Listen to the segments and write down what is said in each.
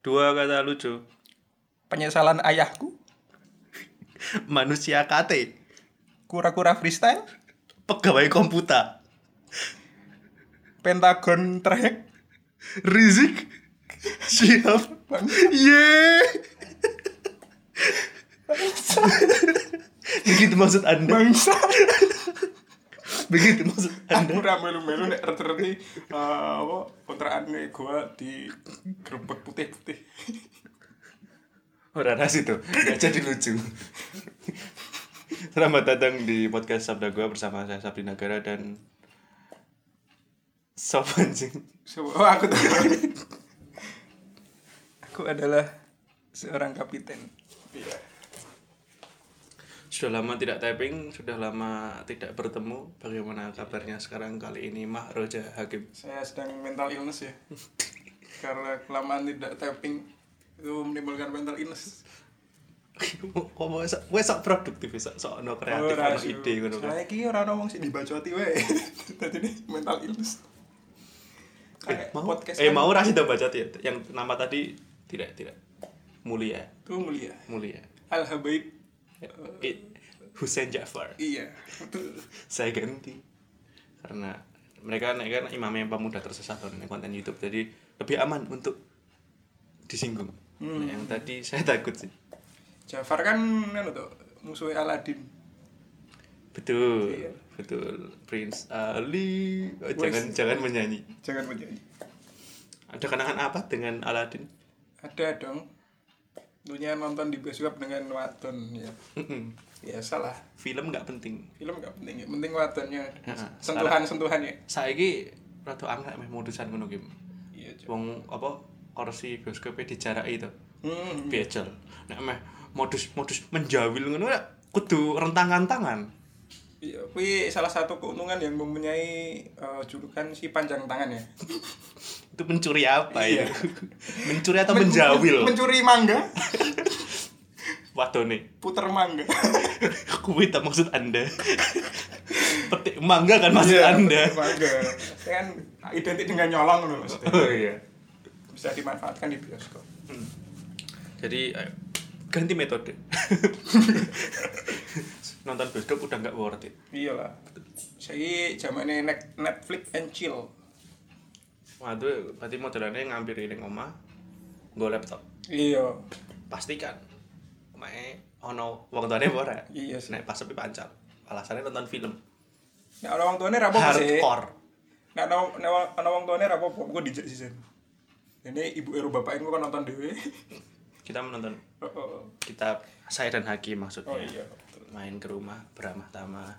Dua kata lucu. Penyesalan ayahku, Manusia KT. kura-kura freestyle, Pegawai komputer. pentagon track, Rizik. Siap. Bang. Yeay. Begitu maksud Anda. bangsa. Begitu maksud Anda. Aku ra melu-melu nek ret-reti eh, apa kontrakan nek gua di gerbek putih-putih. Ora nasi tuh. Gak jadi lucu. Selamat datang di podcast Sabda Gua bersama saya Sabdi Nagara dan Sob anjing. So, oh, aku tahu. aku adalah seorang kapiten. Iya. Sudah lama tidak typing, sudah lama tidak bertemu. Bagaimana kabarnya sekarang kali ini Mah Roja Hakim? Saya sedang mental illness ya. Karena kelamaan tidak tapping itu menimbulkan mental illness. Kok mau sok wes sok produktif sok sok no kreatif Ora, ono Su. ide ngono kan. Soalnya iki ora ngomong sih dibacoti wae. Dadi ini mental illness. Eh, Kayak mau podcast eh kan mau rasih tak baca ya. Yang nama tadi tidak tidak mulia, Itu mulia. mulia. Al habaib. It, Hussein Jafar. Iya. Betul. Saya ganti karena mereka naik kan imam yang pemuda tersesat kan, konten YouTube jadi lebih aman untuk disinggung. Nah, yang Hmm. tadi saya takut sih. Jafar kan anu tuh musuhnya Aladin. Betul. Iya. Betul. Prince Ali. Oh, jangan jangan menyanyi. Jangan menjadi. Ada kenangan apa dengan Aladdin? Ada dong. Tentunya nonton di bioskop dengan waton ya. Biasalah. Film nggak penting. Film gak penting ya. Penting watonnya. Heeh. Sentuhan-sentuhannya. Saiki rada angkat meh modusan ngono game. Iya, Cok. Wong apa kursi bioskopnya dijaraki itu. Hmm. Biajel. Nek meh modus-modus menjawil ngono ya kudu rentangan tangan. Iya, kui salah satu keuntungan yang mempunyai eh, julukan si panjang tangan ya. Itu mencuri apa Iya. itu? mencuri atau menjawil? Mencuri mangga, Wadone. puter mangga. Kuwi tak maksud Anda. Petik mangga kan maksud Iya, Anda. puter Mangga. Saya kan identik dengan nyolong loh maksudnya. Oh iya. Bisa dimanfaatkan di bioskop. Jadi ayo, ganti metode. Nonton bioskop udah nggak worth it. Iyalah. Iya Saya zamannya net- Netflix and chill. Waduh, berarti modelannya ngampiri ning omah nggo laptop. Iya. Pastikan omahe ono wong tuane apa ora. Iya sih. Nek pas sepi pancal. Alasannya nonton film. Nah, orang tuane rapopo sih. Hardcore. Nah, orang orang orang tuane rapopo. Gue dijak sih Zen. Ini ibu eru bapak gue kan nonton dewe. Kita menonton Oh, oh. kita saya dan Hakim oh maksudnya. iya. Main ke rumah beramah-tamah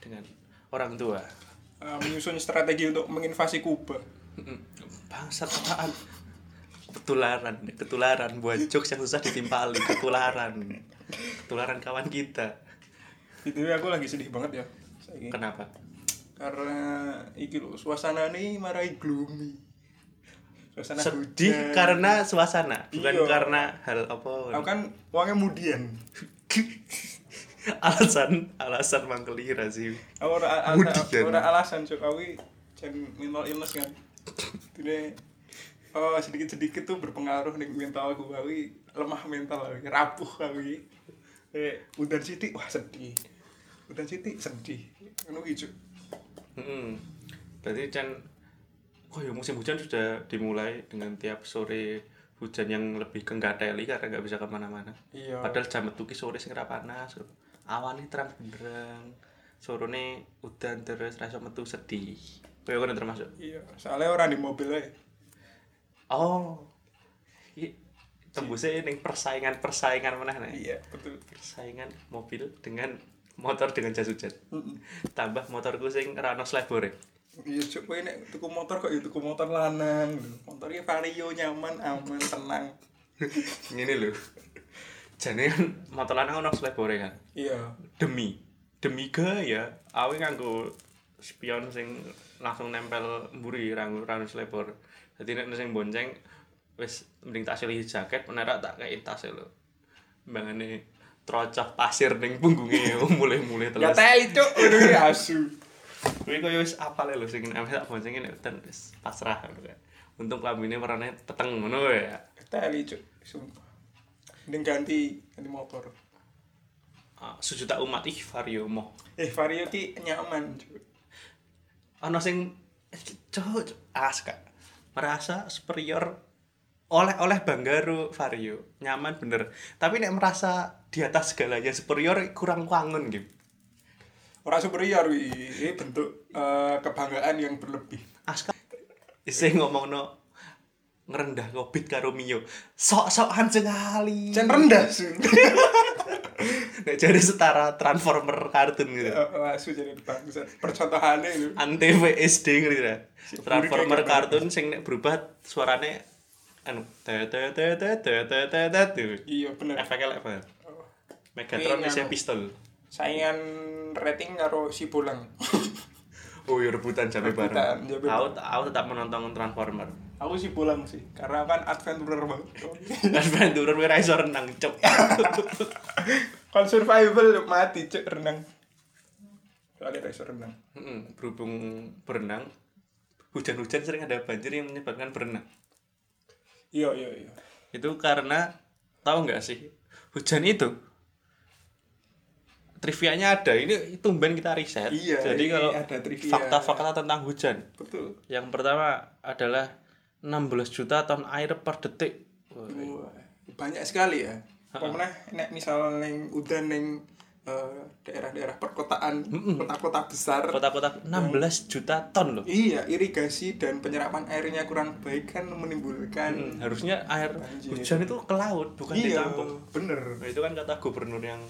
dengan orang tua. Eh, menyusun strategi untuk menginvasi Kuba. Mm-mm. Bangsat apaan? Ketularan, ketularan buat jokes yang susah ditimpali, ketularan. Ketularan kawan kita. Itu aku lagi sedih banget ya. Saiki. Kenapa? Karena iki lho, suasana ini marai gloomy. Suasana Sedih hujan. karena suasana, bukan Iya. karena hal apa. aku kan uangnya mudian. alasan alasan mangkelira sih. Aku ora a- a- Mudian. ora alasan cok aku iki jan mental illness kan. Dine oh sedikit-sedikit tuh berpengaruh nih mental aku aku iki lemah mental aku iki, rapuh aku iki. Eh, udan sithik wah sedih. Udan sithik sedih. Ngono iki cok. Mm-mm. Berarti Chan, oh ya musim hujan sudah dimulai dengan tiap sore hujan yang lebih kenggateli karena nggak bisa kemana-mana. Iya. Padahal jam metu ki sore sing ra panas. Awane terang benderang. Sorone udan terus rasa metu sedih. Kowe kan termasuk. Iya, soalnya orang di mobil aja. Oh. Iki tembusnya ning persaingan-persaingan meneh nih. Iya, betul. Persaingan mobil dengan motor dengan jas hujan. Mm-mm. Tambah motorku sing ra ono slebore. Iya, cuk, kowe nek tuku motor kok ya tuku motor lanang. Motor iki vario nyaman, aman, tenang. Ngene lho. Jane kan motor lanang ono slebore kan. Iya. demi demi gaya awe nganggo spion sing langsung nempel mburi ranggo ranggo selebor dadi nek sing bonceng wis mending tak silih jaket menara tak kei tas e lho mbangane trocah pasir ning punggunge mulai-mulai terus Ya teli, cuk. Aduh, iki asu. kuwi koyo wis apal e lho sing nek tak boncenge nek ten wis pasrah ngono kae untung klambine warnane peteng ngono ya teli cuk sumpah mending ganti ganti motor Ah, sejuta umat ih vario mo eh vario ki nyaman cuk ono sing cowok aska merasa superior oleh oleh banggaru vario nyaman bener tapi nek merasa di atas segalanya superior kurang wangun gitu orang superior wi ini bentuk eh, kebanggaan yang berlebih aska sing ngomong no ngerendah ngobit karo mio sok-sokan sekali jangan rendah su nek jadi setara transformer kartun gitu Eh, langsung jadi bangsa percontohannya itu anti VSD gitu ya Si transformer Budi kayak kartun sing nek berubah suaranya anu gitu. te te te te te te te te te iya bener efeknya lek banget Megatron Ini isi anu. pistol saingan rating karo si pulang oh iya rebutan jabe Rebutan, bareng jabe aku aku tetap menonton Transformer aku si pulang sih karena kan adventurer banget dan Banduran wira iso renang cok kalau survival mati cuk renang soalnya racer renang Mm, berhubung berenang hujan-hujan sering ada banjir yang menyebabkan berenang iya iya iya itu karena tahu nggak sih hujan itu trivianya ada ini tumben kita riset Iya, jadi ini kalau ada trivia. fakta-fakta tentang hujan betul yang pertama adalah 16 juta ton air per detik Wah, banyak sekali ya pernah nek misalnya neng udah neng eh, daerah-daerah perkotaan kota-kota besar kota-kota 16 juta ton loh iya irigasi dan penyerapan airnya kurang baik kan menimbulkan harusnya air Banjir. hujan itu ke laut bukan di iya kampung bener Nah, itu kan kata gubernur yang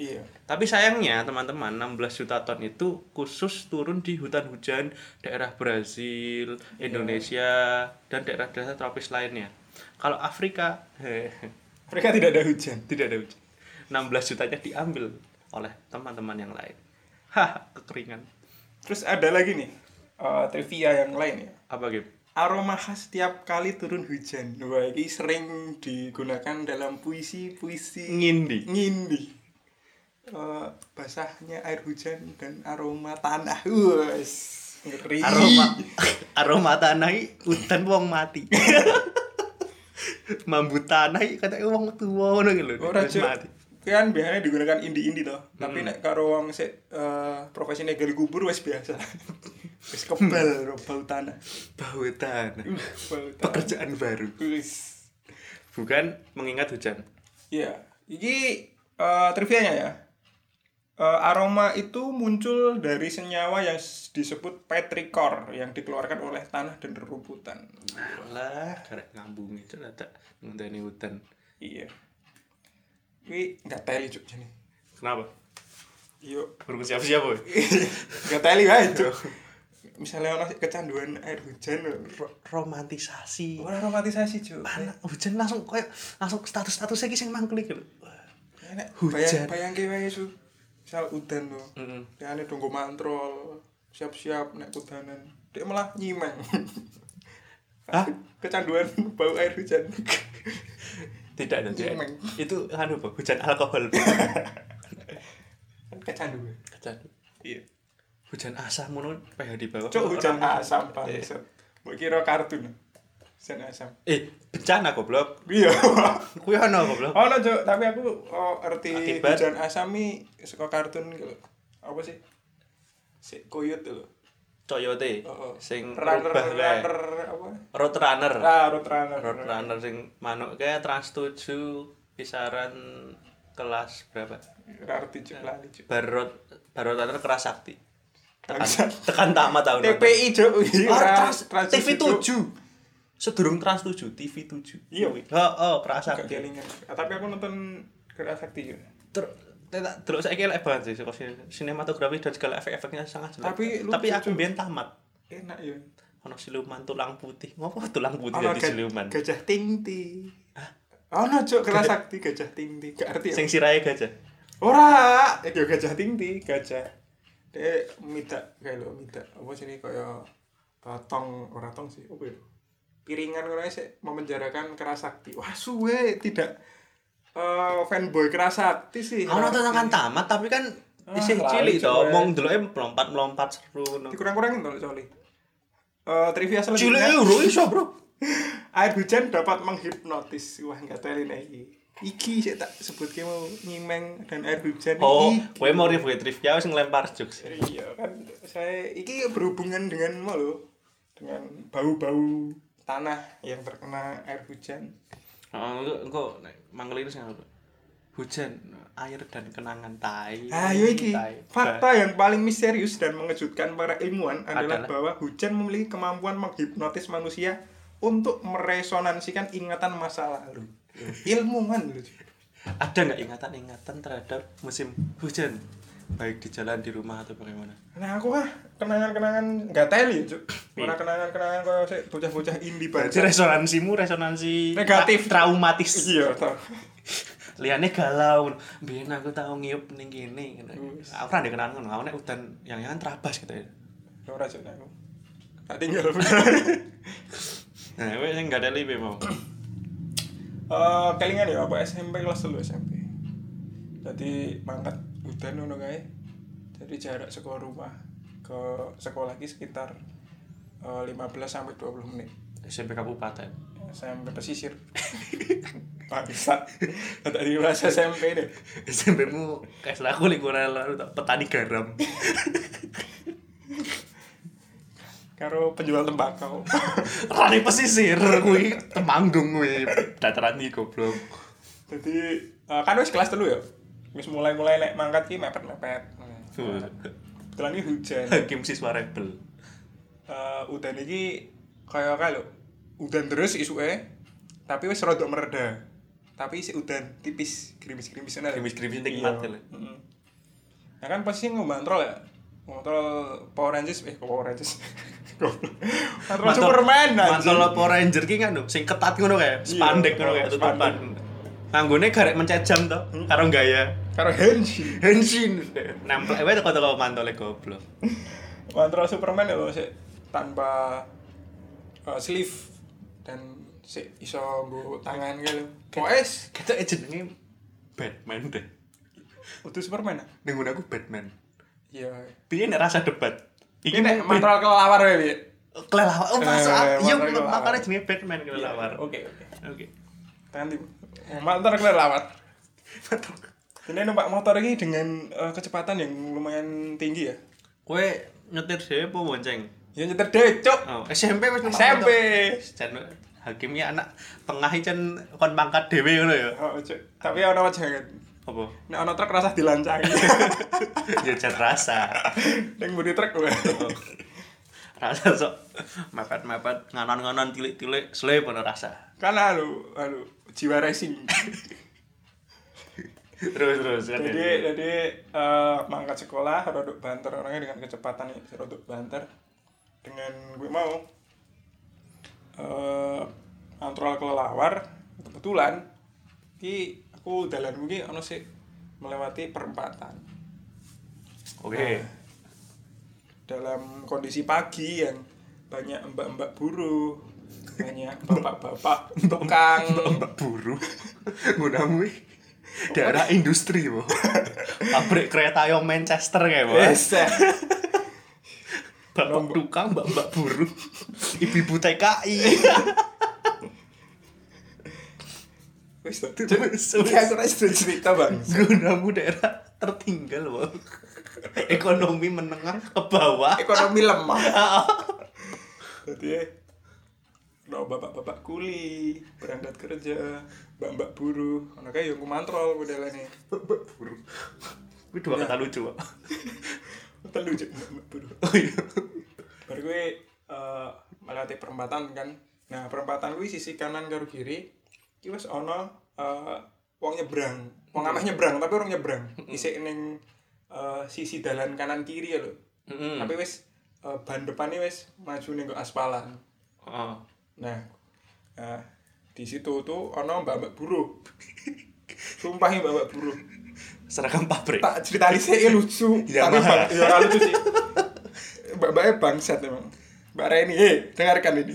iya Tapi sayangnya teman-teman 16 juta ton itu khusus turun di hutan hujan daerah Brazil, Indonesia dan daerah-daerah tropis lainnya. Kalau Afrika mereka tidak ada hujan tidak ada hujan. 16 jutanya diambil oleh teman-teman yang lain. Hah, kekeringan. terus ada lagi nih eh, trivia yang lain ya Apa gitu? aroma khas tiap kali turun hujan wah ini sering digunakan dalam puisi-puisi Ngindi. ngindi Eh, basahnya air hujan dan aroma tanah Wes, ngeri Aroma aroma tanai hutan wong mati. Mambu tanai katanya wong tua ngono gitu lho. ora terus Cuk. mati. kan biasanya digunakan indi-indi toh tapi nek karo wong sik eh, profesine gali kubur wis biasa wis kebal ro, bau tanah Bau tanah. Uh, bau tanah Pekerjaan baru. wis Bukan mengingat hujan. Iya, ini eh, trivianya ya. Eh, aroma itu muncul dari senyawa yang s- disebut petrichor yang dikeluarkan oleh tanah dan rumputan. Alah, karek ngambung itu ada ngenteni hutan. Iya. Ini nggak teli cuk ini. Kenapa? Yuk, Belum siap-siap, boy. nggak teli aja cuk. Misalnya orang kecanduan air hujan, ro- Romantisasi. orang romantisasi cuk. Anak hujan langsung koyo langsung status-statusnya ki sing mangklik lho. Enak, Hujan. Bayang, bayangke wae cuk. Misal udan loh. Heeh. Ya ini tunggu mantrol, siap-siap naik kudanan. Dia malah nyimeng. Hah? Kecanduan bau air hujan. Tidak ada Cek. Nyimeng. Itu anu, Bo, hujan alkohol. Bo. Kan kecanduan. Hujan. Iya. Hujan asam ngono pH di bawah. Cuk hujan Orang- asam bangsat. Mbok kira kartun. Hujan asam. Eh, bencana goblok. Iya. Kuwi ono goblok. oh no, Cuk, tapi aku oh, ngerti Akibat. hujan asam mi suka kartun gitu. Apa sih? Si koyut tuh. Coyote Oh, oh. sing runner, rubah wae. runner, apa? Road runner. Ah, road runner. road runner sing manuk kayak trans 7 kisaran kelas berapa Kartu cuk lali cuk. barot barot runner keras sakti tekan, Bangsat. tekan tamat tahun TPI cuk. lalu. oh, trans, Trans- TV Cuk. 7 sedurung trans 7 TV 7 Iya, oh, oh keras Gak sakti kelingan. Ah, tapi aku nonton Gerak Sakti juga. Ter- tak- Terus saya kira banget sih, saka sin- sinematografi dan segala efek-efeknya sangat jelek. Tapi lucu, tapi aku Cuk. biar tamat. Enak ya. Ono siluman tulang putih, ngopo tulang putih jadi ga- siluman. Gajah Tingti. Oh no cuk Gerak Sakti Gajah Tingti. Gak ngerti ya. Sing sirahe gajah. Ora, eh yo Gajah Tingti, gajah. Dek mita kayak lo mita. Apa sih ini kayak eh, tong ora tong sih. Apa ya? Piringan ngono ae sih memenjarakan Keras Sakti. Wah, suwe tidak eh fanboy Keras Sakti sih. Ono Keras Sakti. tekan tamat tapi kan Ah, isih cilik lali, to, Cuk, mong deloke melompat-melompat seru ngono. dikurang-kurangin tuh soalnya Eh trivia Cilik selanjutnya yo ora iso, Bro. air hujan dapat menghipnotis wah nggak tahu ini iki sih tak sebutke mau nyimeng dan air hujan Oh, iki. gue mau review trivia wis ngelempar juk sih. iya kan saya iki berhubungan dengan mau lho, dengan bau-bau tanah yang terkena air hujan Oh, engko manggil ini sing apa? Hujan, air dan kenangan tai. Ayo Ah, iya iki Iya, Tai. fakta yang paling misterius dan mengejutkan para ilmuwan adalah Adalah? bahwa hujan memiliki kemampuan menghipnotis manusia untuk meresonansikan ingatan masa lalu. Ilmuwan lho. Ada nggak ingatan-ingatan terhadap musim hujan? Baik di jalan, di rumah atau bagaimana? Nah aku ah kenangan-kenangan nggak teli cuk. Iya. Ora kenangan-kenangan koyo sik bocah-bocah indie Berarti banget. resonansimu resonansi Negatif. tra- traumatis. Iya toh. Liane galau. Biyen aku tau ngiup ning kene. ngono. Wis. Aku ora kenangan ngono. Aku nek udan yang yang terabas gitu ya. Ora cuk aku. Tak tinggal. Nah, kowe sing gak ada libe mau. Eh kelingan ya apa SMP kelas 3 SMP. Jadi mangkat udan ngono kae. Jadi jarak sekolah rumah ke sekolah lagi sekitar eh, 15 sampai 20 menit. SMP kabupaten. SMP pesisir. Bangsat. Tak ada rasa SMP deh. SMP mu kayak selaku lingkungan lalu tak petani garam. Karo penjual tembakau. Rani pesisir kuwi temanggung kuwi dataran iki goblok. Jadi eh, kan wis kelas dulu ya. Wis mulai-mulai nek mangkat ki mepet-mepet. Kebetulan ini hujan. Hakim siswa rebel. Eh, udan iki kaya kaya lho. Udan terus isuke, tapi wis rada mereda. Tapi si udan tipis, gerimis-gerimis ana. lho. Gerimis-gerimis nikmat Iya. lho. Mm-mm. Ya kan pasti ngebantrol ya. Ngontrol Power Rangers, eh kok Power Rangers. Goblok. Ngontrol Superman Mantul anjing. Iya, Power Ranger ki kan lho, sing ketat ngono kae, spandek ngono kae spandek. tutupan. Anggone garek mencet jam to, Hmm. karo gaya. Karo Henshin. Henshin nempel wae teko-teko mantole goblok. Ngontrol Superman ya lho sik tanpa eh, sleeve dan sik iso nggo tangan kae lho. Pokoke Kata e jenenge Batman deh. udah Superman. ya? Ning ngono aku Batman. Iya. Piye nek rasa debat? Iki Ini nek mung mantrol kelawar ya, Bi. kelelawar. Oh, masa Eh, iya mantrol kelelawar. makanya jenenge Batman kelelawar. Oke, oke. Oke. Tangan tim. Mantrol kelawar. Ini numpak motor ini dengan eh, kecepatan yang lumayan tinggi ya. Kowe nyetir dhewe apa bonceng? Ya nyetir decok. Oh, SMP wis numpak SMP. motor. Jan hakimnya anak tengah jan kon mangkat dhewe ngono ya. Oh, Cuk. Tapi ana wajangan. Apa? Nek ana truk rasa dilancangi. ya jan rasa. Ning mburi truk gue. Oh. Rasa sok mepet-mepet nganan-nganan tilik-tilik slep ono rasa. Kan anu, anu jiwa racing. Terus terus kan. jadi ya. jadi eh, mangkat sekolah rodok banter orangnya dengan kecepatan ya, rodok banter dengan gue mau eh antral kelelawar kebetulan di aku jalan mungkin ono sih melewati perempatan Oke. dalam kondisi pagi yang banyak mbak-mbak buruh banyak bapak-bapak tukang Mbak buruh. Ngonamu iki daerah industri bo. Pabrik kereta yo Manchester kayak bo. Bisa. Bapak tukang, mbak-mbak buruh, ibu-ibu TKI. Wis tuh. Terus, Iki aku ra cerita, Bang. Gunamu daerah tertinggal, Bang. Ekonomi menengah ke bawah. ekonomi lemah jadi no bapak-bapak kuli berangkat kerja mbak-mbak buruh anaknya yang kumantrol modelnya Mbak buruh. Itu dua kata lucu, Pak. telu cek mbak-mbak buruh Oh iya. baru gue eh, melewati perempatan kan nah perempatan gue sisi kanan karo kiri iki wis ono eh, wong nyebrang wong ameh nyebrang tapi orang nyebrang isih ning eh, sisi dalan kanan kiri ya lho Mm-mm. tapi wis eh, ban depannya wis maju ning ke aspalan Oh. Nah, nah, di situ tuh ono mbak-mbak buruh. Sumpah ya mbak-mbak buruh. Seragam pabrik. Tak cerita lisenya lucu, Ya, tapi mahal. bang, ya ora lucu sih. Mbak-mbaknya bangsat emang. Mbak Reni, eh, dengarkan ini.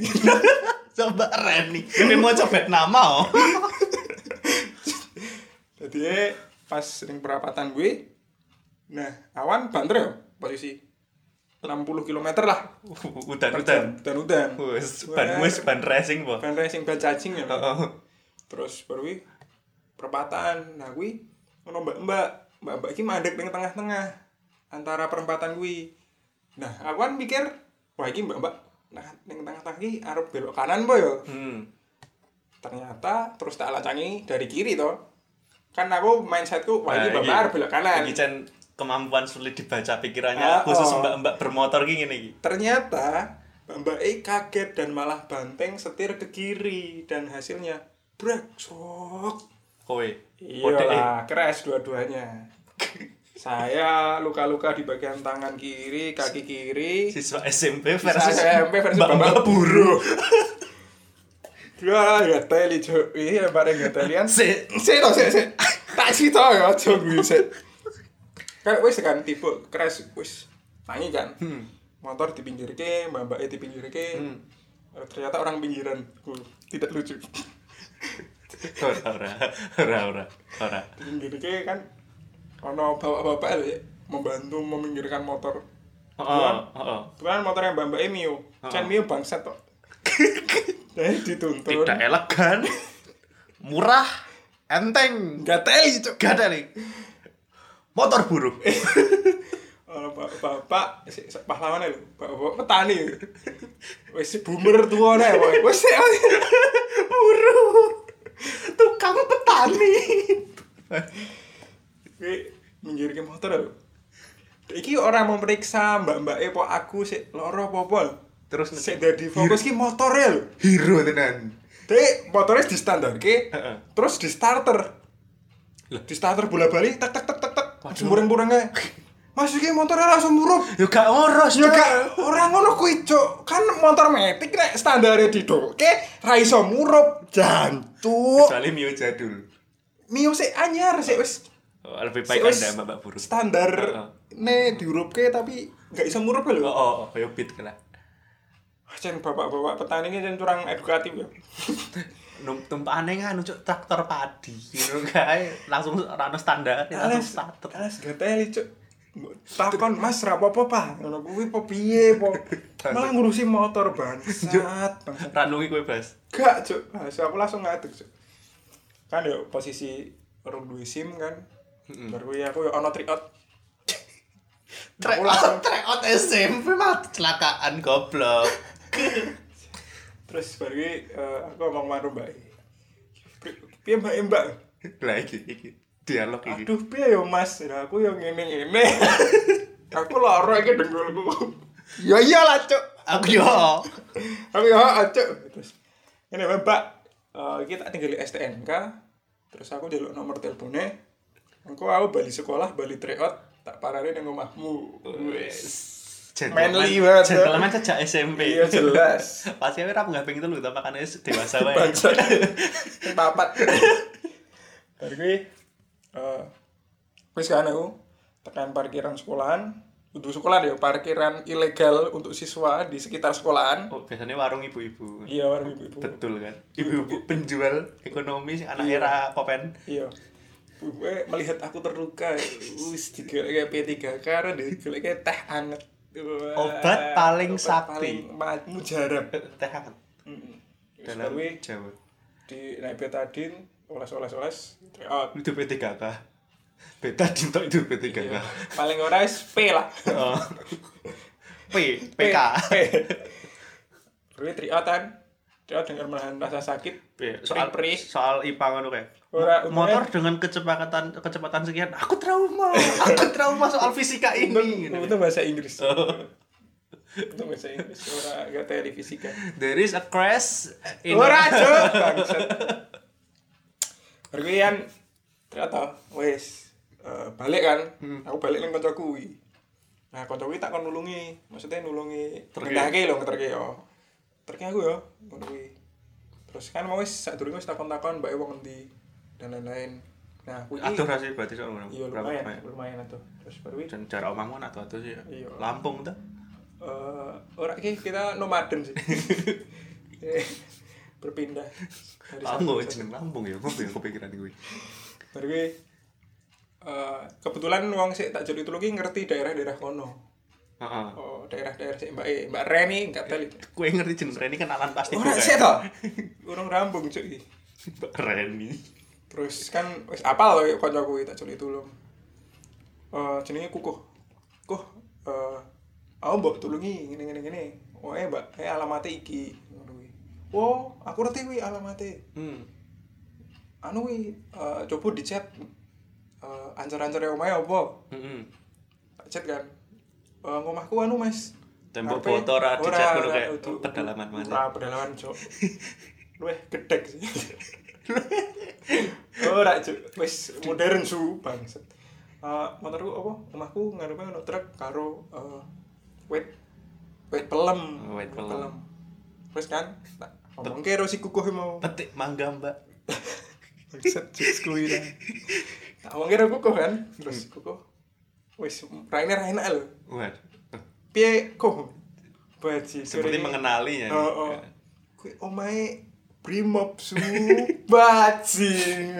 Coba Reni. Ini mau coba nama, oh. Jadi eh, pas sering perapatan gue, nah awan banter ya posisi. 60 km lah udan udan udan udan wes ban wes ban racing po ban racing ban cacing ya Heeh. terus baru kuwi perempatan nah kuwi ono mbak-mbak mbak-mbak iki mandek ning tengah-tengah antara perempatan kuwi nah aku kan mikir wah iki mbak-mbak nah ning tengah-tengah iki arep belok kanan po yo hmm ternyata terus tak lacangi dari kiri toh kan aku mindsetku wah ini Nah, mbak-mbak iki- arep belok kanan iki Cen, kemampuan sulit dibaca pikirannya Ah, khusus oh. mbak-mbak bermotor gini nih ternyata mbak-mbak E kaget dan malah banteng setir ke kiri dan hasilnya brak sok kowe Kode, eh. Iya, crash dua-duanya. saya luka-luka di bagian tangan kiri, kaki kiri. siswa SMP versus SMP versus mbak-mbak bapak buruh Wah, gak teli, Cuk. Iya, bareng gak telian. si Sik to, sik, sik. Tak cita ya, Cuk, gue sik. Kan wis kan tipe crash wis. Tangi kan. Motor di pinggir ke, mbak-mbak di pinggir ke. Ternyata orang pinggiran. Huh, Tidak lucu. ora ora ora ora ora pinggir ke kan ono bapak-bapak lho, ya, membantu meminggirkan motor. oh oh, oh Kebetulan motor yang Mbak Mbak Mio. Chan Mio bangsat kok. Jadi dituntun. tidak elegan murah enteng Gak teli cuk. gak ada nih motor buruh Ono Oh, bapak-bapak si- si- pahlawan lho, bapak-bapak petani. Wis boomer tuwa nek kok. Wis sik, wis. buruh tukang petani Kuwi minggirke motor lho. Iki orang memeriksa mbak-mbak e po aku sik loro apa apa lho. terus Sik dadi fokus ki motore lho. hero tenan Dek, motornya di standar ke, Heeh. terus di starter. Di starter bola balik, tek tek tek tek tek, semureng-murengnya. Mas iki motornya langsung murup. yo gak ngoros Ya gak orang ngono kuwi, Cuk. Kan motor metik nek standare didoke ra iso murup, jancuk. kecuali mio jadul Mio sik anyar sik wis Oh, lebih sik baik wis anda mbak buruh Standar Heeh. ne diurupke tapi gak iso murup oh lho. oh oh yo beat kena Jen bapak-bapak petani ini jen kurang edukatif ya. tumpahane nganu cuk traktor padi gitu kae langsung rano standar langsung Ales, starter ales gak teli cuk. Mbok Takon Mas ra apa-apa, Pak. Ngono kuwi po piye po? Malah ngurusi motor bangsat. bangsat. ranungi kowe bas Gak cuk. Nah, so aku langsung ngaduk cuk. Kan yo posisi orang duwe SIM kan. Baru ya aku yo ono tryout. Aku langsung out SMP mah kecelakaan goblok terus baru kuwi, eh, aku ngomong karo Mbak. E. Pri- Piye Mbak E, Mbak? lah iki iki dialog iki Aduh piye yo Mas? Lah aku yo ngene-ngene. aku lara iki dengkulku. Ya iyalah cuk. aku yo Tapi ya acuk. Terus ini Mbak, eh kita tinggal di STNK. Terus aku jaluk nomor teleponnya. Engko aku balik sekolah, balik tryout, tak parane nang omahmu. Wes. Manly banget, ya. gentleman sejak SMP Iya jelas. pasti ora munggah ping telu ta makane wis dewasa wae Bangsa. Yang papat. Dari gue, eh wis kan aku tekan parkiran sekolahan. Untuk sekolah ya, parkiran ilegal untuk siswa di sekitar sekolahan. oh, biasanya warung ibu-ibu Iya, warung ibu-ibu. betul kan ibu-ibu penjual ekonomi anak era popen iya gue melihat aku terluka us tiga kayak P3K karena dia kayak teh anget Wah, Obat paling sakti. paling ma- mujarab teh hangat dalam dalam Jawa di naik betadin oles oles oles tryout itu P3K beta dintok itu P3K Iya. paling ora wis P lah Oh. P PK P gue trioutan tryout dengan menahan rasa sakit P. soal Pri-pri. soal IPA ngono kae. Ora, motor dengan kecepatan kecepatan sekian aku trauma aku trauma soal fisika ini untung, Gitu. untung bahasa Inggris Oh. untung bahasa Inggris ora gak teli fisika there is a crash in Ora cuk. Pergian ternyata wes eh, balik kan. Hmm. Aku balik ning kancaku kuwi. Nah, kancaku kuwi tak kon nulungi, maksudnya nulungi Terke. ngendahke lho ngeterke yo. Terke aku yo ngono kuwi. Terus kan mau wis sadurunge wis takon-takon mbake wong endi dan lain-lain. Nah, kuwi aduh rasanya berarti soal ngono iya Berapa lumayan, banyak? lumayan atuh. Terus baru kuwi dan jarak omahmu nak aduh sih ya? Iya. Lampung tuh eh ora iki kita nomaden sih. Eh, berpindah dari satu Lampung ke satu. jeneng Lampung ya kok ya kepikiran gue Baru gue eh, kebetulan wong sik tak jadi tulungi ngerti daerah-daerah kono. Heeh. Oh, daerah-daerah sih Mbak eh, Mbak Reni enggak tahu. Kue ngerti jeneng Reni kenalan pasti ya? Ora juga. sih to. Urung rambung cuy. Mbak Reni. Terus kan wis apal loh kancaku tak culi tulung. Eh jenenge Kukuh. Kuh eh aku mbok tulungi ngene ngene ngene. Oh, eh Mbak, eh alamate iki. Ngono kuwi. Oh, aku ngerti kuwi alamate. Hmm. Anu kuwi eh coba dicet. Eh ancer-ancer omahe opo? Heeh. Chat kan. Eh ngomahku anu, Mas. Tembok HP. botol ra dicat Ora, ngono ora, kayak udu- udu- pedalaman mana. Ora pedalaman, Cuk. Luweh gedek sih. Ora, Cuk. Wis modern su, bangset. Eh, motorku apa? Omahku ngarepe ono truk karo eh wet wet pelem. Oh, wet pelem. Terus kan, tak ngomong karo si kukuh mau. Petik mangga, Mbak. Bangsat jokes kuwi lah. Tak ngomong karo kukuh kan, terus Hmm. kukuh. Wis, raine raine lho. Wah. Piye kuh? Baji, Seperti ya. sore- mengenalinya. Oh, oh. Kuwi omahe Brimob subacing.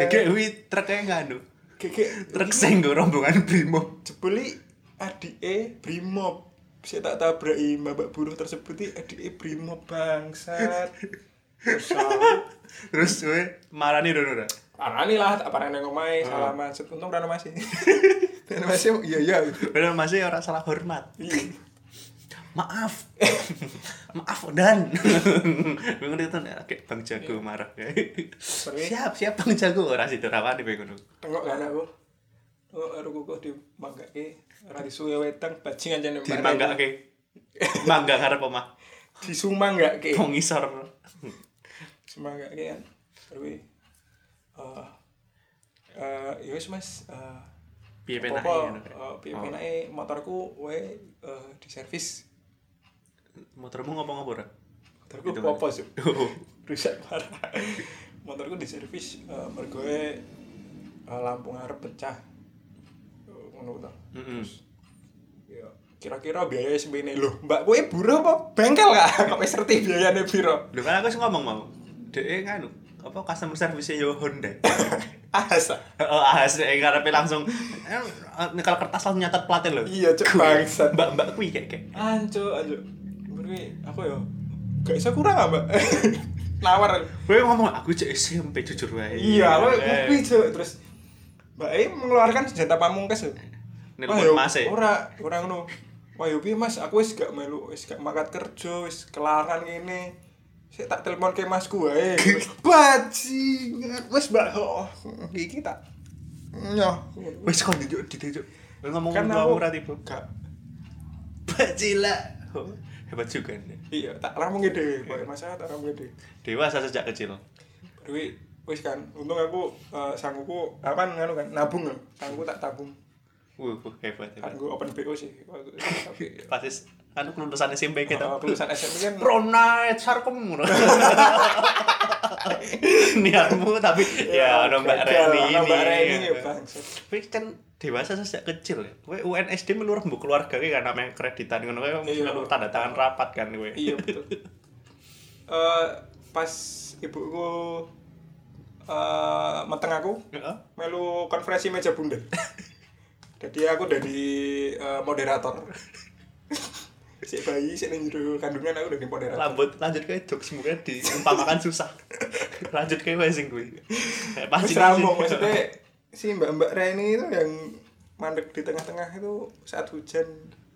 Kakek wi truknya nggak anu. Gege Truk sing nggo rombongan Brimob. jebule adike Brimob. Saya tak tabraki babak buruh tersebut iki adike Brimob bangsat. Terus kowe marani Dono ra. Parani lah, tak parani nang omahe salaman. Set, Untung rano masih. Rano masih iya iya. Padahal masih ya orang salah hormat. Iya. Maaf. Maaf, Dan. Gue ngerti tuh nek kayak Bang Jago marah kayak. Siap, siap Bang Jago ora situ rawani kowe ngono. Tengok kan aku. Tengok karo kukuh di manggake. Rani suwe wetang bajingan jane. Di mangga oke. Mangga karep omah. Di sumanggake. Wong ngisor. semangat kan terus eh eh ya wis mas eh Piye penake apa ngono Oh. kayak. eh, piye penake motorku wae eh di servis Motormu ngomong apa ora? motorku Gitu, Mas. apa sih rusak parah motorku di servis eh mergo e, eh, lampu ngarep pecah Eh, ngono ta Heeh. Ya, kira-kira biaya sembene lho mbak kowe buruh apa bengkel kah kok wis ngerti biayane piro Lho kan aku sih ngomong mau. Dek nganu apa customer service yo Honda. asa Oh, asli eh, ngarepe langsung eh, nyekel kertas langsung nyatet platin lho. iya cuk bangsat Mbak-mbak kuwi kayak kayak. Anco, anco. Berarti aku ya gak bisa kurang apa? Nawar. Kowe ngomong aku cek SMP jujur wae. Eh, Iya, aku kopi cuk. Terus Mbak E mengeluarkan senjata pamungkas. ya. Wah, Nelpon ya, Mas e. Ora, ora ngono. Wah, yo piye Mas, aku wis gak melu, wis gak mangkat kerja, wis kelaran ngene. Saya tak telepon ke masku wae. Bajingan. Wis Mbak, oh, iki tak. Nyoh. Wis kon dijuk dijuk. Kowe ngomong Kan kan aku- aku ora tipe. Gak Bajila. Oh, Hebat juga nih. iya, tak ramu Iya. gede, Mbak. Masalah tak ramu gede. Dewasa sejak kecil. Dewi, wis kan, untung aku eh, sanggupku apa nganu kan, nabung loh, sanggupku tak tabung, Wuh, wuh, hebat hebat. aku open BO sih, tapi Pasti kan kelulusan SMP eh, kita. lulusan SMP kan Pronite sarkem Niatmu tapi ya ada Mbak gagal, Reni ini. ono Mbak Reni ya bangsat. Kowe kan dewasa sejak kecil ya. Kowe UNSD melu rembu keluarga kowe kan namanya kreditan ngono kowe mesti Iya. melu tanda tangan rapat kan kowe. Iya betul. Eh pas ibuku eh meteng aku, Heeh. melu konferensi meja bundar. Jadi aku dari eh, moderator. si bayi, si nang jero kandungan aku dari moderator. Lambut lanjut kowe jokes mungkin diumpamakan susah. lanjut kowe sing kuwi. Eh, Mas Pasti Rambo maksudnya si mbak-mbak Reni itu yang mandek di tengah-tengah itu saat hujan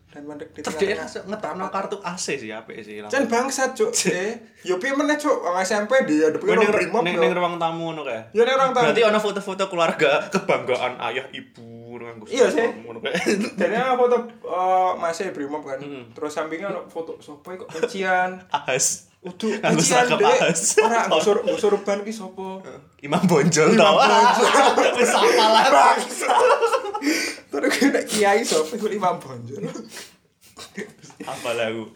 dan mandek di Terus dia tengah-tengah. langsung ngetokno kartu AC sih apik sih. Jan bangsat cuk. Eh, yo piye meneh cuk wong SMP di ada Kowe ning pengen orang brimob ning- yo. ning ruang tamu ngono kae. Yo ning orang tamu. Berarti ana foto-foto keluarga kebanggaan ayah ibu ngono kae. Iya, sih. Ngono kan. kae. Jadi ada foto eh, masih brimob kan. Mm. Terus sampingnya ada foto sopo kok kuncian. Ahas. Udu Aku kuncian seragam dek. ahas. Ora ngusur ngusur ban ki sopo. Imam Bonjol tau. Oh. Wis apalah. Terus gue nek kiai sopo iku Imam Bonjol. Apalah aku.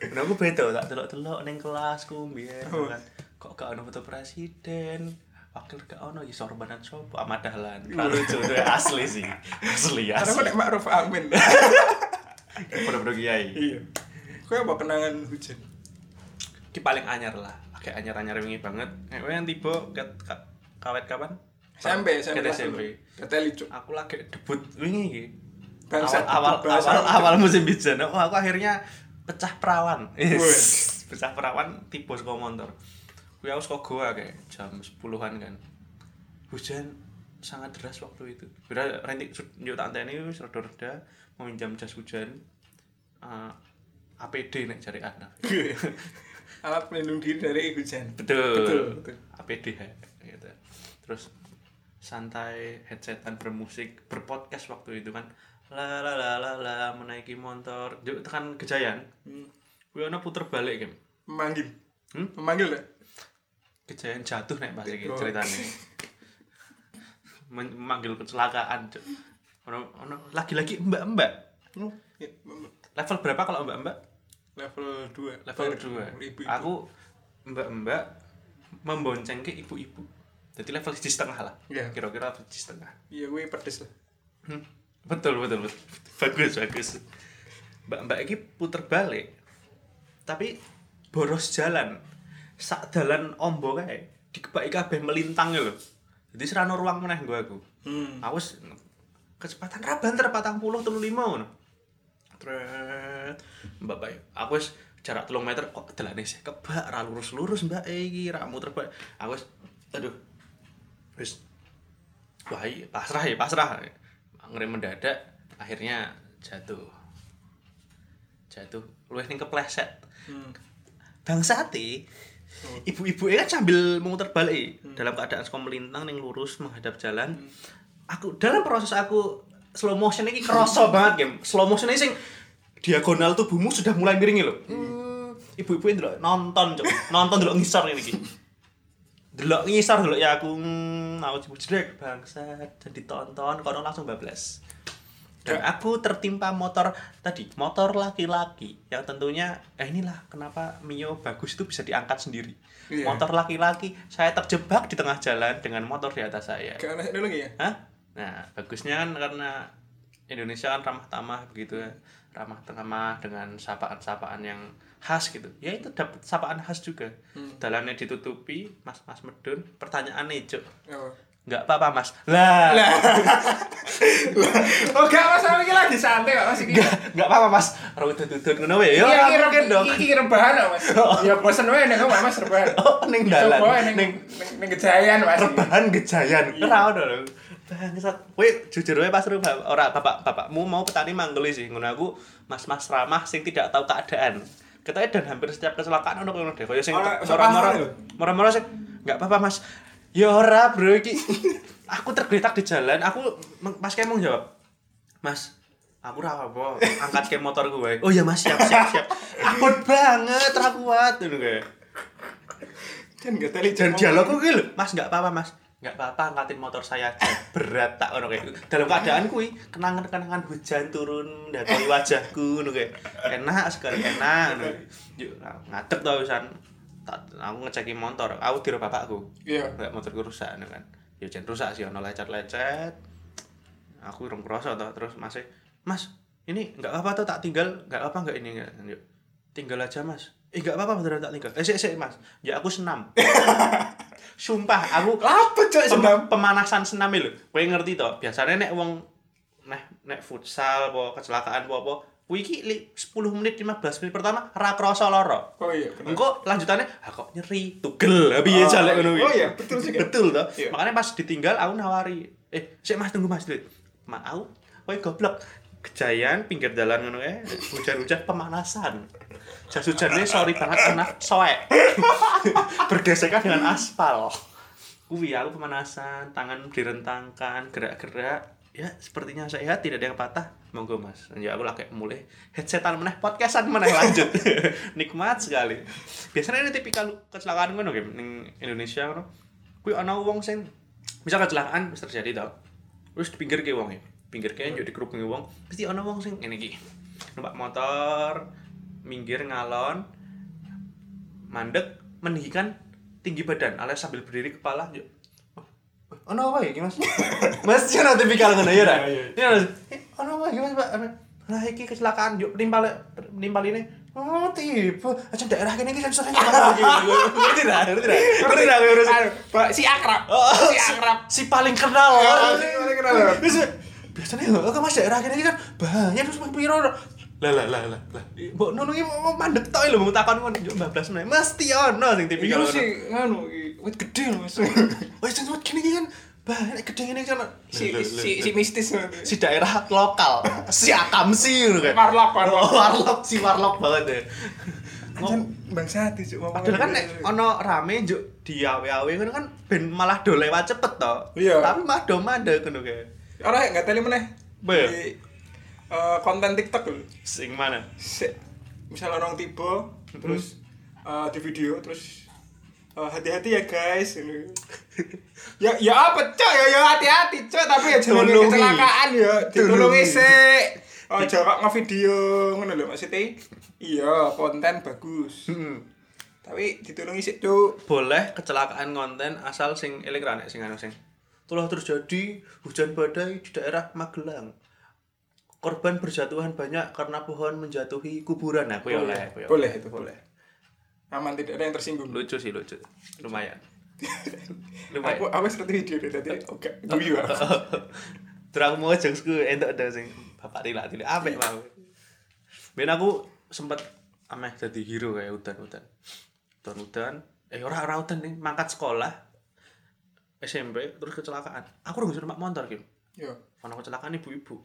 Nah, aku beda tak telok-telok ning kelasku mbiyen kan. Kok gak ono foto presiden? Wakil gak ono ya sorbanan sopo Ahmad Dahlan. Ra lucu itu asli sih. Asli Karena aku asli. nek Ma'ruf Amin. Bener-bener kiai. Iya. Kowe apa kenangan hujan? Ki paling anyar lah. Kayak anyar-anyar wingi banget. Nek kowe yang tiba ket ka- kawet kapan? SMP, SMP. Ket SMP. Keteli cuk. Aku lagi debut wingi iki. Bangsat, awal awal bahasa awal, apa? awal musim bijan aku, aku akhirnya pecah perawan Wih. yes. pecah perawan tipe saka motor gue harus kok goa kayak jam 10-an kan hujan sangat deras waktu itu kira rentik yuk tak anteni wis reda-reda meminjam jas hujan eh, APD nek cari anak alat pelindung diri dari hujan betul, Betul, betul. APD gitu terus santai headsetan bermusik berpodcast waktu itu kan la la la la la menaiki motor yuk tekan kejayan Hmm. gue ono kan puter balik kan memanggil Hmm? memanggil ya kejadian jatuh nek pas iki Oh. ceritane. Men- Memanggil kecelakaan, Cuk. Ono ono lagi-lagi mbak-mbak. Hmm? Ya, mem- Level berapa kalau mbak-mbak? level 2 Level ibu 2. aku Aku mbak-mbak membonceng ke ibu-ibu. Jadi level siji setengah lah. Iya. Kira-kira level siji setengah. iya gue pedes lah Hmm. Betul, betul, betul. Bagus, bagus. Mbak-mbak ini puter balik. Tapi boros jalan. Sak dalan ombo kae dikebaki kabeh melintang lho. Jadi serano ruang meneh gue aku. hmm. Aku s- kecepatan ra banter 40 35 ngono. Tret. Mbak Bayu, aku wis jarak 3 meter kok delane sih kebak ra lurus-lurus Mbak e iki ra muter bak. Aku wis aduh. Wis wah iya, pasrah ya pasrah. Ngerem mendadak akhirnya jatuh. Jatuh luwih ning kepleset. Hmm. bangsate ibu-ibu kan sambil memutar balik e, dalam keadaan sekolah melintang yang lurus menghadap jalan aku dalam proses aku slow motion ini kerasa banget game slow motion ini sing diagonal tubuhmu sudah mulai miring loh ibu-ibu ini delok nonton cok nonton dulu ngisor ini iki. delok ngisor delok ya aku hmm, aku cipu jedek bangsat dan ditonton kono langsung bablas dan aku tertimpa motor tadi motor laki-laki yang tentunya eh inilah kenapa Mio bagus itu bisa diangkat sendiri Iya. motor laki-laki saya terjebak di tengah jalan dengan motor di atas saya gak ada dulu ya Hah? Nah, bagusnya kan karena Indonesia kan ramah tamah begitu ya. Ramah tamah dengan sapaan-sapaan yang khas gitu. Ya itu dapat sapaan khas juga. Hmm. Dalannya ditutupi, mas-mas medun, pertanyaannya cuk. oh. Nggak apa-apa mas. Lah, oh gak masalah ini lagi santai kok masih nggak nggak apa-apa mas. Rambut tutun ngono wae. Yo, Iya, ora iya, mungkin dong. Iki iki rebahan loh, Mas. Ya bosen wae nek omah Mas rebahan. Oh, ning dalan. Coba wae ning Ning ning ning gejayan Mas. rebahan gejayan. Ora ono lho. Bangsat. Kowe jujur wae pas rumah ora bapak-bapakmu mau petani manggeli sih ngono aku mas-mas ramah sing tidak tahu keadaan. Ketanya dan hampir setiap kecelakaan ono kono deh. Kaya sing Ora- moro-moro sepaham lho. moro-moro sing enggak apa-apa Mas. Ya ora, Bro iki. Aku tergeletak di jalan, aku meng- Mas kayak mau jawab. Mas, aku ra apa angkat ke motor gue. Oh iya Mas, siap siap siap. Akut banget, ra kuat ngono kayak. Jan gak teli Dan dialog aku gitu, Mas nggak apa-apa mas, nggak apa-apa angkatin motor saya aja. berat tak ono kayak dalam keadaan kui kenangan kenangan hujan turun dari wajahku nu kayak enak sekali enak nu yuk ngadep tau wisan tak aku ngecekin motor aku tiro bapakku Iya. kayak motorku rusak nu kan ya jen rusak sih ono lecet lecet aku rong kroso toh terus masih mas ini nggak apa-apa tuh tak tinggal nggak apa nggak ini nggak Yuk, tinggal aja mas eh nggak apa-apa beneran tak tinggal eh sik sik mas ya aku senam sumpah aku Lapo cok Pem- Oh, senam. pemanasan senam lho. Kowe ngerti to, biasanya nek wong nek nek futsal apa kecelakaan apa apa, kuwi iki li- 10 menit 15 menit pertama ra krasa lara. Oh iya, bener. Engko lanjutannya, ah kok nyeri, tugel, lah piye Oh, jalek ngono oh iya, betul juga. Betul toh. Iya. Makanya pas ditinggal aku nawari, eh sik Mas tunggu Mas dulu. Mak aku, kowe goblok. Kejayaan pinggir jalan ngono eh, hujan-hujan pemanasan. Jas hujannya sorry banget kena soek. Bergesekan dengan aspal. Kuwi ya, aku pemanasan, tangan direntangkan, gerak-gerak. Ya, sepertinya sehat, tidak ada yang patah. Monggo, Mas. Ya, aku lagi mulai headsetan meneh, podcastan meneh lanjut. Nikmat sekali. Biasanya ini tipikal kecelakaan ngono game ning Indonesia ngono. Kuwi ana wong sing misal kecelakaan wis terjadi tau. Terus dipinggir ke wong ya. Pinggir ke yo dikerubengi wong, pasti ana wong sing ngene iki. Numpak motor, minggir ngalon, mandek meninggikan tinggi badan alias sambil berdiri kepala yuk oh no apa ya mas mas ini ada tipikal ngono ya Ra? Iya, ini harus oh no apa ya mas pak lah iki kecelakaan yuk nimpal nimpal ini oh tipe aja daerah kene iki sering kecelakaan ngerti tidak ngerti tidak ngerti tidak Aduh, Pak, si akrab. Oh, Si akrab. si paling kenal iya, Oh, si paling kenal. Terus, biasanya heeh kan mas daerah kene iki kan bahaya terus mung piro lah lah lah lah lah mbok nunung iki mau mandek tok lho mung takon ngono yo bablas meneh mesti ono sing Iya, Iki tipikal lu ngono. Iya, sih nganu, i- wit gede loh Mas. wes sing suwet kene iki kan bahaya nek gede ngene iki kan Si si si mistis loh. si daerah lokal si akamsi ngono kayak Warlock, warlock. warlock si warlock banget ya Anjan bangsa ati cuk ngomong. padahal kan nek ono rame juk diawe-awe ngono kan ben malah do lewat cepet to Iya. tapi malah do mandek ngono kayak Ora enggak teli meneh. Apa ya? Di, eh, konten TikTok lho. sing mana Sik, misal orang tiba terus eh, di video terus eh, hati-hati ya guys ini. ya ya apa cok ya ya hati-hati cok tapi ya jangan Tolongi. kecelakaan ya ditolongi Tolongi. sik oh jarak ngevideo ngono lho maksudnya iya konten bagus Hmm. tapi ditolongi sik cuk boleh kecelakaan konten asal sing eling ra nek sing anu sing telah terjadi hujan badai di daerah Magelang korban berjatuhan banyak karena pohon menjatuhi kuburan Nah, aku ya oleh aku ya. boleh itu boleh aman tidak ada yang tersinggung lucu sih lucu lumayan aku lumayan aku seperti video deh tadi oke guyu aku terang mau jeng Terus entuk ada sing bapak tilak tilak apik mau ben aku sempet ameh jadi hero kayak udan-udan udan-udan eh ora ora udan nih mangkat sekolah SMP terus kecelakaan aku udah ngusir mak motor gitu yo ono kecelakaan ibu-ibu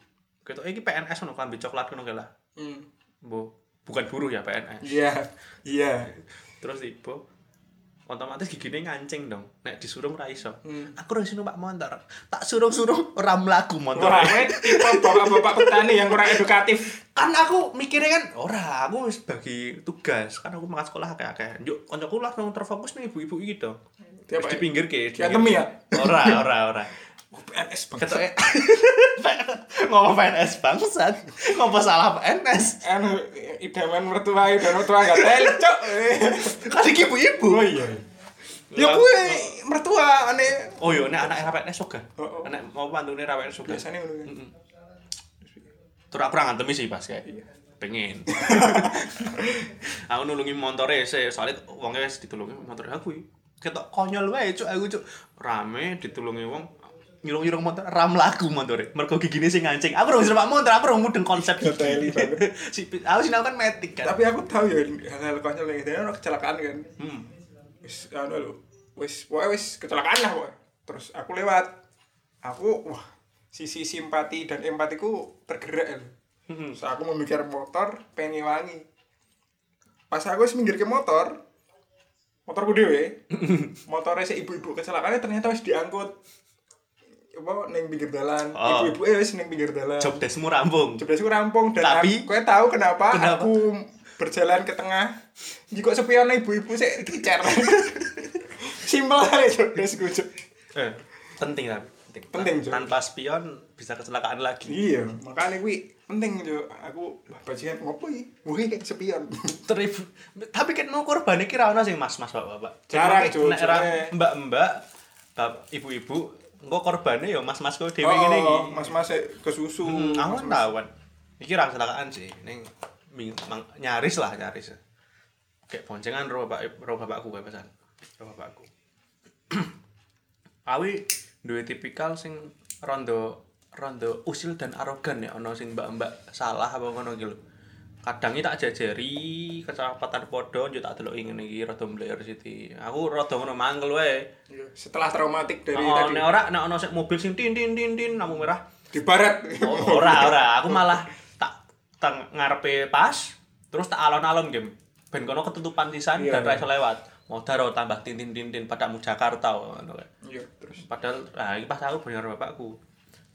ketok iki PNS ono klambi coklat ngono kae lah Hmm. Bu, bukan buruh ya PNS iya iya terus ibu otomatis giginya ngancing dong nek disuruh ora iso Hmm. aku harus numpak motor tak suruh suruh orang melaku motor Wah, ini tipe bapak-bapak petani yang kurang edukatif. kan aku mikirnya kan ora aku wis bagi tugas kan aku makan sekolah kayak kayak yuk koncoku lah yang terfokus nih ibu-ibu gitu Dia terus apa di pinggir ke Dia temi ya? ora ora ora Oh, PNS banget. ketok ngomong PNS bangsat ngomong salah PNS Anu, idaman mertua, idaman mertua nggak teli, cok. kan iki ibu-ibu Oh iya. Ya gue mertua aneh. oh yo nek anak PNS juga Oh, oh. anak mau pantune ra PNS juga Biasanya ngono kan. terus aku ra ngantemi sih pas kayak Iya. pengen aku nulungi montore sih soalnya wongnya wis ditulungi motor aku iki. ketok konyol wae cuk aku cuk rame ditulungi wong nyurung-nyurung motor ram laku motore mergo gigine sing ngancing aku ora numpak motor aku ora mudeng konsep Gak teli banget. si aku sinau kan metik kan Tapi aku tahu ya hal-hal konyol yang ada orang kecelakaan kan. hmm. Wis anu lho. Wis pokoknya wis kecelakaan lah pokoknya. Terus aku lewat. Aku wah sisi simpati dan empatiku tergerak lho. Hmm. Terus aku memikir motor, pengen ngewangi. Pas aku wis minggir ke motor, motorku dhewe. Motornya si ibu-ibu kecelakaannya ternyata wis diangkut. Apa ning pinggir dalan. Oh. Ibu-ibu eh wis ning pinggir dalan. job desmu rampung Jeblasku rampung dan Tapi- aku, kowe tahu kenapa, Kenapa? aku berjalan ke tengah. Jika sepion ibu-ibu sik kicer. Simpel aja jeblasku. Cuk. eh, penting tapi penting, Penting, Cuk. tanpa spion bisa kecelakaan lagi Iya, makanya kuwi penting yo aku wah bajingan ngopo iki? Wih, sepion. Terib- tapi kan mau korban iki ra ono sing mas-mas bapak-bapak Jarang, Nek- Cuk, nek ra soalnya- mbak-mbak bab- ibu-ibu engko korbane ya mas-mas kok dhewe Oh, ngene iki mas-mas sik kesusu. Hmm, aku kan Mas-mas- tahuan iki ra kecelakaan sih ning ming- mang- nyaris lah nyaris kayak boncengan ro bapak ro bapakku kayak pesan ro bapakku awi duwe tipikal sing rondo rondo usil dan arogan ya ono sing mbak-mbak salah apa ngono iki lho kadang iki tak jajari kecepatan podo yo tak deloki ngene iki rada mbler siti aku rada ngono mangkel wae Iya, Setelah traumatik dari Oh, tadi nek ora nek ono sik mobil sing tin tin tin tin lampu merah di barat. Oh, ora ora, aku malah tak teng ngarepe pas, terus tak alon-alon game. Ben kono ketutupan pisan Iya. dan ra iso lewat. Modaro tambah tintin-tintin padamu Jakarta ngono kae. Iya, terus. Padahal ah iki pas aku bener bapakku.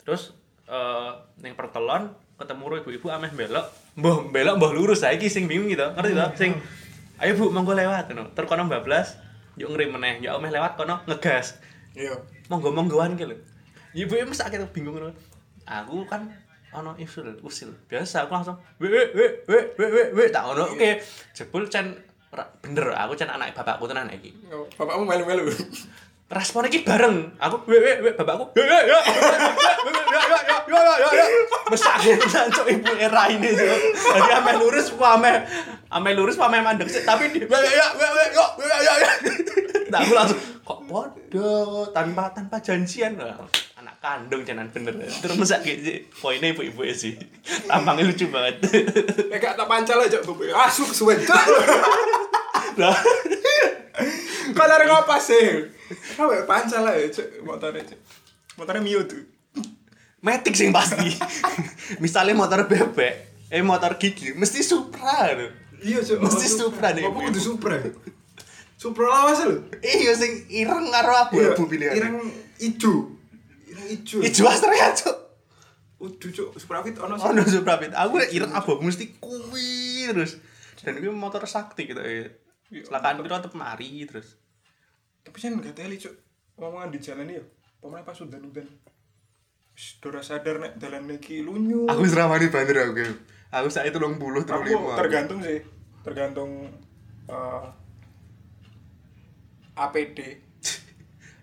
Terus eh ning perkelon ketemu ro ibu-ibu ameh belok. Mbah belok mbah lurus saiki sing bingung gitu. Ngerti to? Sing ayo Bu monggo lewat ngono. Terus kono bablas, yuk ngrim meneh, yuk ameh lewat kono ngegas. Iya. monggo monggoan gitu ibu ibu mesti akhirnya bingung loh aku kan ono usul usil biasa aku langsung we we we we we we we tak ono oke jebul cen ra- bener aku cen anak bapakku tenan iki Yo, Bapakmu melu-melu. respon iki bareng aku we we we bapakku yo yo yo We, we, yo yo yo yo yo yo yo mesake cuk ibu era ini cuk jadi ame lurus ku ame ame lurus ku ame mandek sih tapi di ya ya ya ya ya ya ya ya nah aku langsung kok podo tanpa tanpa janjian lah anak kandung jangan bener terus sakit sih poinnya ibu-ibu sih tampangnya lucu banget Ya gak tak pancal aja bu. Asu Ah, kesuwen. Cok. lah Kau lari ngapa sih? Kau kayak pancal aja cok. Motornya cok. Motornya Mio tuh. metik sing pasti misalnya motor bebek eh motor gigi mesti supra lho. Iya cok. Mesti Supra deh, Apa ibu-ibu. kudu Supra? Supra lawas lho. iya sing ireng karo abu-abu pilihan Ireng ijo. Ireng ijo. ijo astrea cuk Udu cok. Supra Fit ono ono Supra Fit. Aku lek ireng abang mesti kuwi terus. Dan kuwi motor sakti gitu ya. Kecelakaan piro tetep mari terus. Tapi kan gak teli cok. Ngomongan di jalan ya. Pemain pas udan-udan. Wis, Dora sadar nek dalan iki lunyu. Aku wis rawani banter aku. Aku saiki 30 aku 35. tergantung sih tergantung eh, APD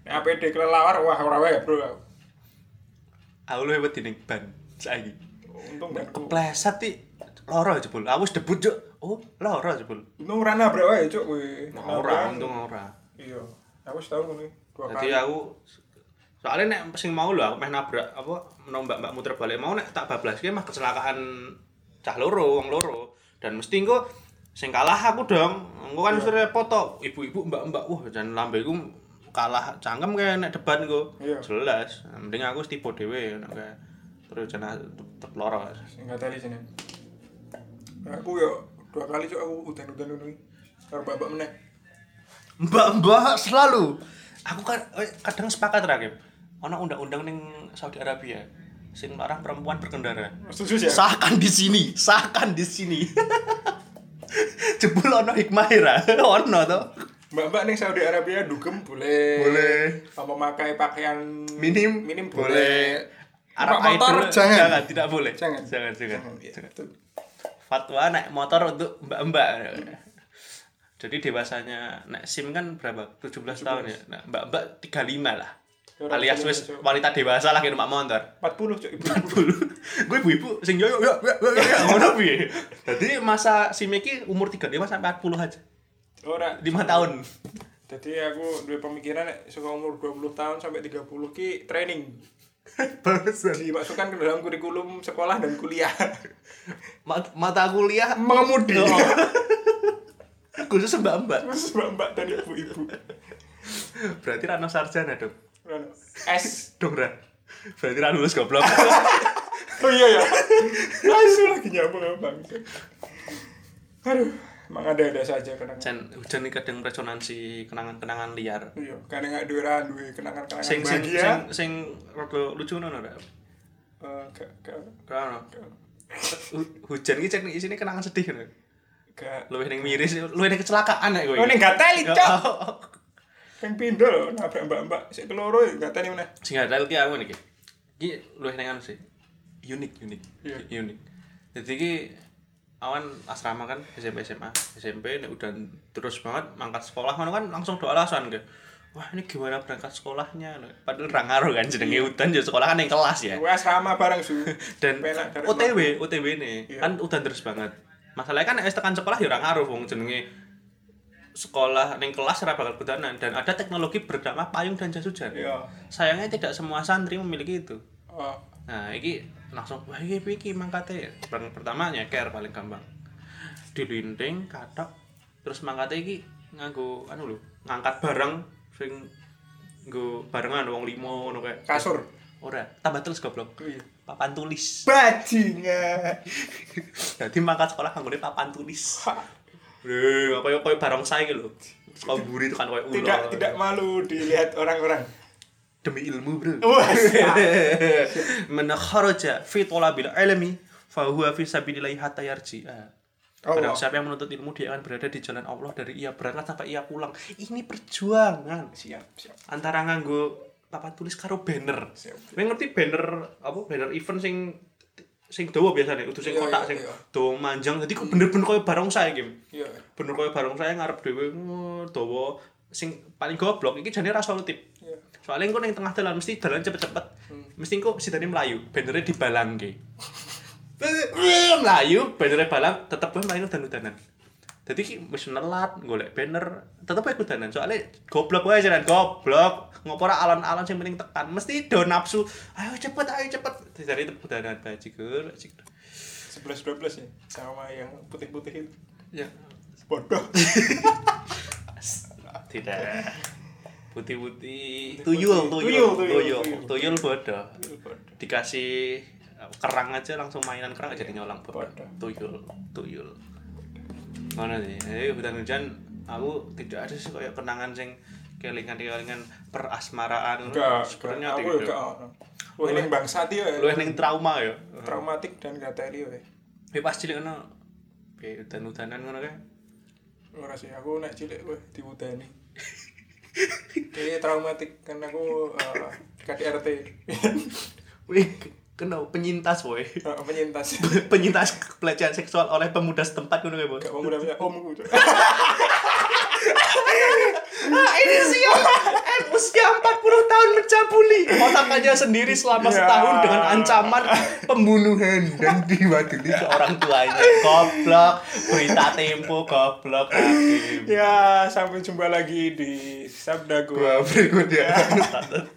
Nek APD kelelawar wah ora wae bro aku. Aku luwih wedi ning ban saiki. untung banku Kepleset iki loro jebul. Aku wis debut juk. Oh, loro jebul. untung ora nabrak wae cuk kowe Ora untung ora. iya aku wis tau ngene dua Jadi kali aku soalnya nek sing mau lho aku meh nabrak apa menawa mbak-mbak muter balik mau nek tak bablaske mah kecelakaan cah loro wong loro dan mesti engko sing kalah aku dong engko kan wis repot to ibu-ibu mbak-mbak wah jan lambeku kalah cangkem kayak nek debat engko Iya. jelas Nah, mending aku wis tipe dhewe nek kayak terus jan tetep loro sing gak teli jeneng aku yo dua kali cuk aku udan-udan ngono iki karo babak meneh mbak-mbak selalu aku kan eh, kadang sepakat rakim ana undang-undang ning Saudi Arabia sing larang perempuan berkendara setuju ya sahkan di sini sahkan di sini jebul ono hikmah ya, ra ono to Mbak-mbak ning Saudi Arabia dugem boleh. Boleh. Apa memakai pakaian Minim. minim Boleh. boleh. Arab motor jangan. jangan tidak boleh Jangan. jangan jangan, Jangan, iya, Jangan. betul. fatwa naik motor untuk mbak-mbak jadi dewasanya naik SIM kan berapa 17, tahun ya nah, mbak-mbak 35 lah Ya, orang alias tuanya, wis Cok. wanita dewasa lah kira motor Kan 40 cuk ibu. gue ibu-ibu sing yo yo yo yo yo, yo ngono piye jadi masa SIM iki umur 35 sampai 40 aja Ora. 5 tahun Jadi aku dua pemikiran nek suka umur 20 tahun sampai 30 ki training. Barusan. Dimasukkan ke dalam kurikulum sekolah dan kuliah. Ma- mata kuliah Mengemudi. Oh. khusus mbak-mbak Terus mbak-mbak dan ibu-ibu. berarti rano sarjana dong Ngono. S. dong Ra. berarti rano lulus goblok Oh iya ya. Langsung lagi nyambung sama bangsa. Aduh, emang ada-ada saja kadang. Jan, hujan ini kadang resonansi kenangan-kenangan liar Iya, kadang gak dua duwe kenangan-kenangan sing sing bahagia. sing sing rada lucu ngono ra Eh, gak gak Rano. gak- Hu- hujan iki jan isine kenangan sedih ngono gak. luwih ning miris luwih ning kecelakaan nek kowe Oh, ini gak teli, Cok. Oh. Yang pindol loh, nabrak mbak-mbak. Sik keloro ya, gak teli meneh. sing gak teli ki aku niki iki luwih ning anu sih unik unik Iya. unik jadi ki awan asrama kan SMP SMA SMP ini udah terus banget mangkat sekolah kan kan langsung doa alasan ke wah ini gimana berangkat sekolahnya padahal ra ngaruh kan Iya. jenenge udan jadi sekolah kan yang kelas ya Gue asrama bareng su. dan Penak bareng OTW OTW ini Iya. kan udah terus banget masalahnya kan es tekan sekolah ya orang ngaruh wong jenenge sekolah ning kelas ora bakal kudanan dan ada teknologi bernama payung dan jas hujan Iya. sayangnya tidak semua santri memiliki itu Oh, nah ini langsung wah iki piye iki mangkate Pertama pertama nyeker paling gampang dilinting katok terus mangkate iki nganggo anu lho ngangkat barang sing nggo barengan wong limo ngono kayak kasur. ora tambah terus goblok Iya. papan tulis Bajingan. Jadi mangkat sekolah nganggone papan tulis. Ha, Lho, apa yo koyo barongsai iki lho. Sekolah buri itu kan koyo ulo. Tidak tidak malu dilihat orang-orang. demi ilmu, Bro. Wah, Man kharaja fi talabil ilmi fa huwa fi sabilillah hatta yarji. Ah. Allah. Barang siapa yang menuntut ilmu dia akan berada di jalan Allah dari ia berangkat sampai ia pulang. Ini perjuangan Siap, siap. antara nganggo papan tulis karo banner. Siap. Kowe ngerti banner apa banner event sing sing dawa biasane, udah sing Iya, kotak iya, sing iya. dawa manjang. Jadi kok bener-bener koyo barongsai iki. Iya. bener kaya bareng saya ngarep dhewe ngono, dawa sing paling goblok iki jane ra solutif. Iya. Soalnya engko ning tengah dalan mesti dalan cepet-cepet. Mesti engko sidane mlayu, benere dibalangke. mlayu, benere balang tetep wae mlayu dan udanan. Jadi ki wis nelat golek banner, tetep ae kudanan. Soalnya goblok wae jalan goblok. Ngopo ora alon-alon sing penting tekan. Mesti do nafsu. Ayo cepet, ayo cepet. Dari tetep kudanan bajigur, bajigur. sebelas dua belas ya sama yang putih putih itu Ya, bodoh tidak. Putih-putih. Tuyul, tuyul, Tuyul, tuyul, tuyul, tuyul bodoh. bodoh Dikasih eh, kerang aja langsung mainan kerang jadi nyolang bodoh. Bodoh. Tuyul, tuyul. Mana sih? Eh, hutan-hujan aku tidak ada sih kayak kenangan sing kelingan-kelingan perasmaraan enggak oh, sebenarnya aku juga tidak. ono lu yang bangsa dia Lu yang trauma ya. traumatik dan gak teri ya Ya pas cilik ngono. Ya hutan-hutanan ngono kae. ora sih aku nek cilik gue diwudani jadi traumatik karena aku eh, KDRT Wih, kenal penyintas boy. Eh, penyintas penyintas pelecehan seksual oleh pemuda setempat ngono kae, Boy. gak mau udah punya omku Cuk. Ah, ini siapa? Eh, usia 40 tahun mencabuli otaknya sendiri selama Ya. setahun dengan ancaman pembunuhan dan diwakili seorang tuanya. Goblok, berita tempo goblok lagi. ya sampai jumpa lagi di Sabda Gua Berikutnya.